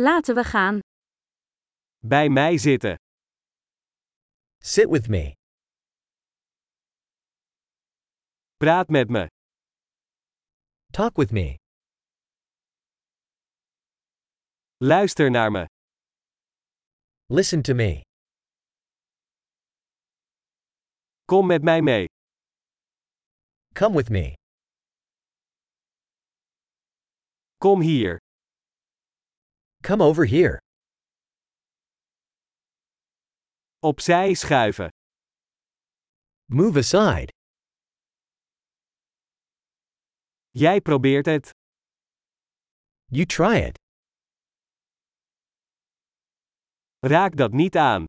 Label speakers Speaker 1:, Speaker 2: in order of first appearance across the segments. Speaker 1: Laten we gaan.
Speaker 2: Bij mij zitten.
Speaker 3: Sit with me.
Speaker 2: Praat met me.
Speaker 3: Talk with me.
Speaker 2: Luister naar me.
Speaker 3: Listen to me.
Speaker 2: Kom met mij mee.
Speaker 3: Come with me.
Speaker 2: Kom hier.
Speaker 3: Come over here.
Speaker 2: Opzij schuiven.
Speaker 3: Move aside.
Speaker 2: Jij probeert het.
Speaker 3: You try it.
Speaker 2: Raak dat niet aan.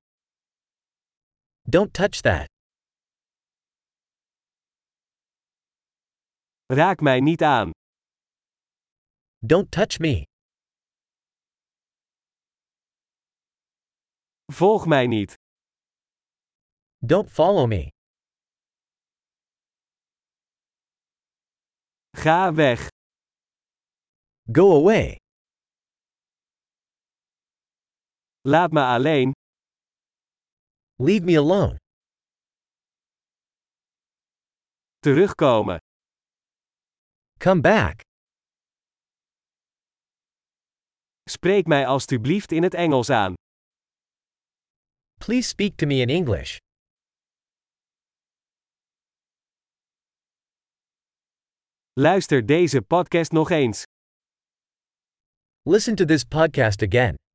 Speaker 3: Don't touch that.
Speaker 2: Raak mij niet aan.
Speaker 3: Don't touch me.
Speaker 2: Volg mij niet.
Speaker 3: Don't follow me.
Speaker 2: Ga weg.
Speaker 3: Go away.
Speaker 2: Laat me alleen.
Speaker 3: Leave me alone.
Speaker 2: Terugkomen.
Speaker 3: Come back.
Speaker 2: Spreek mij alstublieft in het Engels aan.
Speaker 3: Please speak to me in English.
Speaker 2: Luister deze podcast nog eens.
Speaker 3: Listen to this podcast again.